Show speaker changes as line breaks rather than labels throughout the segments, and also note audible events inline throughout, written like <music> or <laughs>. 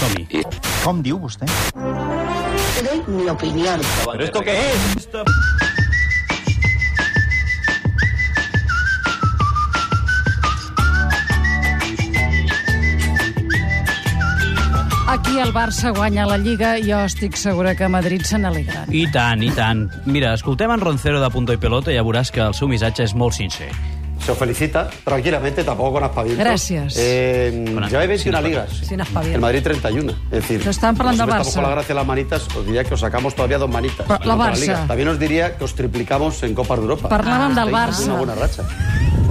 som-hi.
Com diu vostè?
doy mi opinión.
¿Pero esto qué es?
Aquí el Barça guanya la Lliga i jo estic segura que a Madrid se n'alegra.
I tant, i tant. Mira, escoltem en Roncero de Punto i Pelota i ja veuràs que el seu missatge és molt sincer.
Se os felicita tranquilamente, tampoco con aspavientos.
Gracias.
Eh,
Con
lleváis
aspa- sin
21
aspavientos.
ligas.
Sin aspavientos.
El Madrid 31. Es decir,
Pero están hablando
si os
del
metamos
Barça.
con la gracia de las manitas, os diría que os sacamos todavía dos manitas.
Pero
en
la
otra
Barça.
liga. También os diría que os triplicamos en Copa de Europa.
Parlàvem
Estáis
del
en
Barça.
Una buena racha.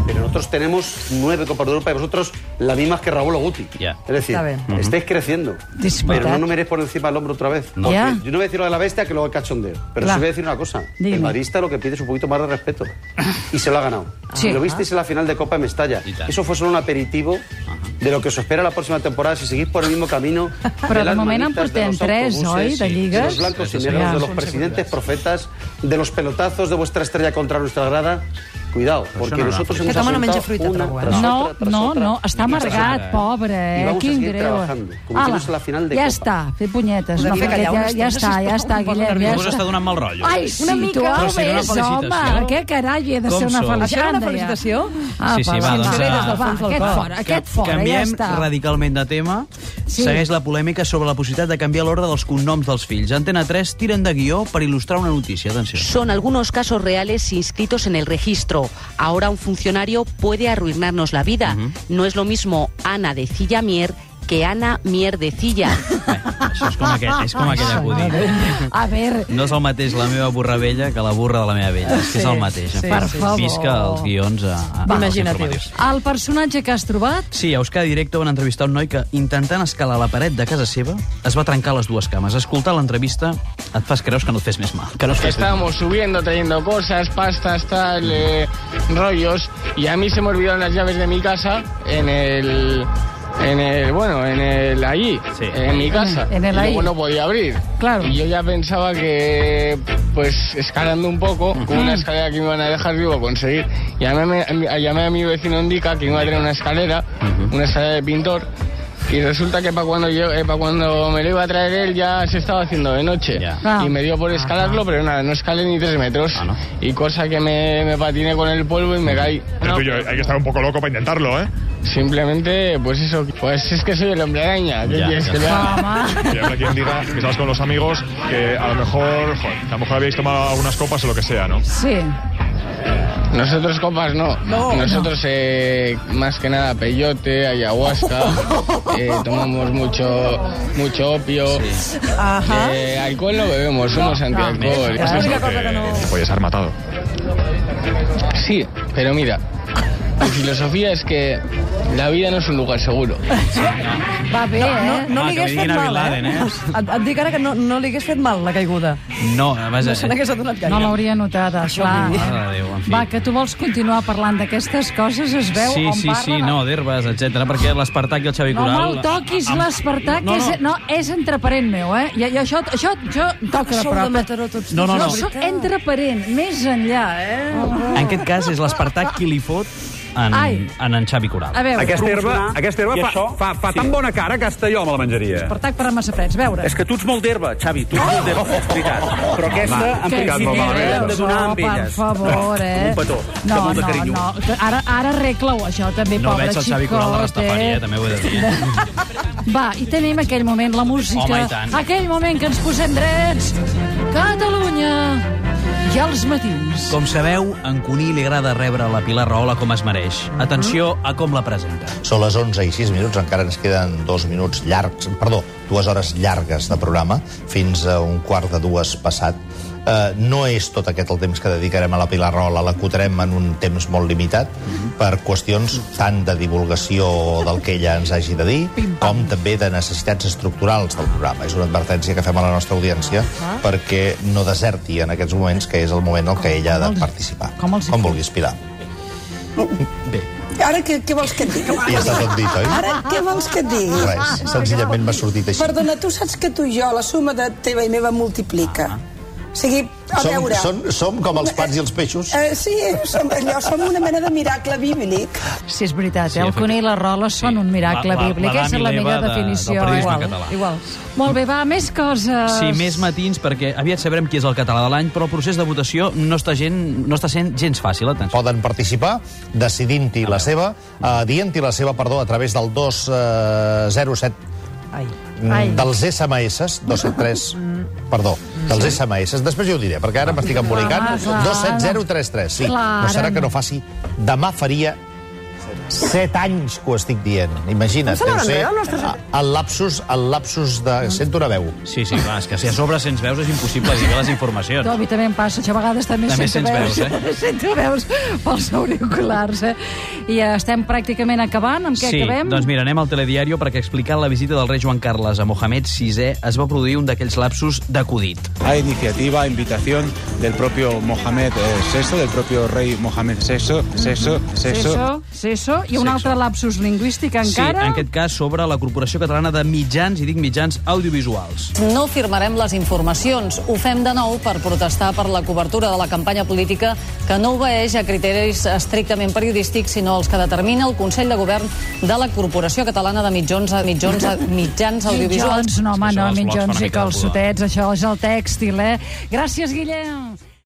Pero nosotros tenemos nueve Copas de Europa y vosotros las mismas que Raúl Oguti.
Ya.
Es decir,
Está bien.
estáis creciendo.
Disputa.
Pero no me miréis por encima del hombro otra vez.
No.
Porque
Ya.
Yo no voy a decir lo de la bestia que luego el cachondeo. Pero
Claro.
sí voy a decir una cosa.
Dime.
El madridista lo que pide es un poquito más de respeto. Y se lo ha ganado.
Sí.
Y lo visteis en la final de Copa de Mestalla.
Y tal.
Eso fue solo un aperitivo de lo que os espera la próxima temporada si seguís por el mismo
<laughs>
camino.
Però de
las
moment en
manitas, de
portem
los
tres,
autobuses,
oi, de
sí, De
lligues?
los blancos
Tres,
y
sí,
negros,
ja.
de los
Són
presidentes profetas, de los pelotazos de vuestra estrella contra nuestra grada. Cuidado, porque
no era
nosotros
fruita.
hemos
Aquest home no menja
aguantado
fruita,
una
trobo, eh?
tras
No,
otra, tras
no,
otra,
no, està
y tras
amargat,
otra. Y
pobre, eh?
vamos a
Quin
seguir
greu.
trabajando, como hicimos en la final de
ja
Copa.
està, fer punyetes.
Podem
No,
fer callar
ja,
una
ja
estona,
està, ja
sisplau,
està,
em poso
Guillem, ja
nerviosa.
Vos
està.
està donant mal rotllo.
Ai, sí,
Una
tu
mica.
ho
Però si era una
ves, home.
felicitació.
Què carai, he de
Com
ser una
sou?
Això era
felicitant,
una felicitació?
Ah,
Sí, sí, va, doncs,
va,
ah,
va, aquest fora, aquest fora, ja
Canviem
està.
radicalment de tema.
Sí.
Sí. Segueix la polèmica sobre la possibilitat de canviar l'ordre dels cognoms dels fills. Antena 3 tiren de guió per il·lustrar una notícia. Atenció.
Son algunos casos reales inscritos en el registro. Ahora un funcionario puede arruinarnos la vida. No es lo mismo Ana de Cillamier que Ana Mier de Cilla.
Bé, això és com aquell, és com aquell acudit.
A veure,
No és el mateix la meva burra vella que la burra de la meva vella. És que és
Sí,
el mateix.
sí,
Per
sí.
favor. Visca els guions a, a
Va.
als
Imaginatius.
informatius.
el personatge que has trobat...
Sí, a Euskadi Directe van entrevistar un noi que, intentant escalar la paret de casa seva, es va trencar les dues cames. Escoltar l'entrevista et fas creus que no et fes més mal. Que no et fes més mal.
Estábamos subiendo, trayendo cosas, pastas, tal, eh, rollos, y a mí se me olvidaron las llaves de mi casa en el... En el, bueno, en el ahí,
Sí.
en mi casa.
En el
Y luego
ahí.
no podía abrir.
Claro.
Y yo ya pensaba que, pues, escalando un poco, con una escalera que me iban a dejar vivo conseguir. Llamé, a mi- llamé a mi vecino Indica, que iba a tener una escalera, una escalera de pintor, y resulta que para cuando, yo, para cuando me lo iba a traer él ya se estaba haciendo de noche.
Ya.
Ah.
Y me dio por escalarlo, pero nada, no escalé ni tres metros.
Ah, ¿no?
Y cosa que me, me patiné con el polvo y me caí.
El
No,
tuyo, eh. hay que estar un poco loco para intentarlo, ¿eh?
Simplemente, pues eso, pues es que soy el hombre araña. ¿Qué
Ya,
quieres
ya
que le haga?
Home,
Que habrá quien diga que estás con los amigos que a lo mejor, joder, a lo mejor habéis tomado algunas copas o lo que sea, ¿no?
sí.
Nosotros copas no. Nosotros eh, más que nada peyote,
<laughs>
ayahuasca, eh, tomamos mucho mucho opio.
Ahà.
Eh, alcohol no bebemos, somos
Ah,
antialcohol.
Es la única cosa que no...
Te podías haber matado.
Sí, pero mira, mi filosofía es que la vida no es un lugar seguro.
Va bé,
No,
eh?
no
Ah,
li
que
hagués
li
fet
diguin a
mal,
Bin Laden,
eh?
eh?
Et, et dic ara que no, no li hagués fet mal, la caiguda.
<laughs> No, vaja...
No se n'hagués adonat gaire.
No l'hauria notat, clar.
Mare de Ah, Déu, en fi.
Va, que tu vols continuar parlant d'aquestes coses, es veu
sí,
on
sí,
parla...
sí, no, d'herbes, etc. perquè l'Espartac i el Xavi
No
Coral...
me'l toquis,
amb-
l'Espartac,
No,
no,
no.
és, no, és entre parent meu, eh? I, i això, això, jo em toca de
Sou de
prop.
Mataró tots
No, no,
dos,
no.
No,
la
sóc
veritat.
entre parent, més enllà, eh?
En aquest cas és l'Espartac qui li fot en,
Ai.
en, en Xavi Coral.
A veure,
Aquesta herba,
promocionar.
aquesta herba fa, fa, fa tan bona cara que hasta jo me la menjaria.
Espartac per a massa freds, veure.
És que tu ets molt d'herba, Xavi, tu ets molt d'herba, és veritat. Però aquesta, en
Que
ficat
sí,
molt
eh?
malament,
hem de donar amb
per
elles.
favor, eh?
Un petó,
No,
de molt de
no,
carinyo.
no. que Ara, ara arregla-ho, això, també,
No
pobre
veig el
xicot.
Xavi Coral de Rastafari, eh?
eh?
també ho he de dir. eh?
Va, i tenim aquell moment, la música.
Home, i tant.
aquell moment que ens posem drets. Catalunya! I els matins.
Com sabeu, en Cuní li agrada rebre la Pilar Rahola com es mereix. Atenció a com la presenta.
Són les 11 i 6 minuts, encara ens queden dos minuts llargs, perdó, dues hores llargues de programa, fins a un quart de dues passat. Eh, no és tot aquest el temps que dedicarem a la Pilar Rola, l'acotarem en un temps molt limitat per qüestions tant de divulgació del que ella ens hagi de dir com també de necessitats estructurals del programa. És una advertència que fem a la nostra audiència
Ah.
perquè no deserti en aquests moments, que és el moment en què ella ha de participar.
com els hi
Com vulguis, Pilar.
Ara què, què vols que et digui?
I ja està tot dit, oi?
Ara què vols que et digui?
Res, senzillament m'ha sortit així.
Perdona, tu saps que tu i jo la suma de teva i meva multiplica. O sigui, a
Som-
veure...
són- som com els pans i els peixos?
Eh, sí, som, allò, som una mena de miracle bíblic.
Sí, és veritat, eh? el cuner i la rola són un miracle
La- la-
bíblic,
la
és
Dani
la millor
Leva de- del
definició.
periodisme
igual,
català.
igual. Molt bé, va, més coses.
Sí, més matins, perquè aviat sabrem qui és el català de l'any, però el procés de votació no està, gent, no està sent gens fàcil. Atenció.
Poden participar decidint-hi la seva, eh, dient-hi la seva, perdó, a través del eh, 207
Ai.
Ai.
Mm, dels SMS, 273, perdó, dels SMS. Després jo ho diré, perquè ara m'estic embolicant.
Clar, clar.
27033, sí.
Clar,
No serà
ara.
que no faci... Demà faria 7 anys que ho estic dient. Imagina't,
Em sembla
deu ser
enrere el nostre-
ah, el lapsus, el lapsus de... Sento una veu.
Sí, sí, clar, és que si a sobre sents veus és impossible dir bé les informacions.
Tu, a mi també em passa, això a vegades també,
També
sento
sents
veus.
veus, eh?
<laughs> sento veus pels auriculars, eh? I estem pràcticament acabant. Amb què
sí,
acabem?
doncs mira, anem al telediario perquè explicant la visita del rei Joan Carles a Mohamed VI es va produir un d'aquells lapsus d'acudit.
a iniciativa, a invitación del propio Mohamed eh, VI, del propio rey Mohamed VI, VI, VI.
Seso, seso, i un altre lapsus lingüístic encara.
Sí, en aquest cas sobre la Corporació Catalana de Mitjans, i dic mitjans audiovisuals.
No firmarem les informacions. Ho fem de nou per protestar per la cobertura de la campanya política que no obeeix a criteris estrictament periodístics, sinó els que determina el Consell de Govern de la Corporació Catalana de Mitjons, mitjons, mitjans audiovisuals.
Mitjons, no, home, no,
blogs fan
mitjons i
una mica de pudor.
calçotets, això és el tèxtil, eh? Gràcies, Guillem.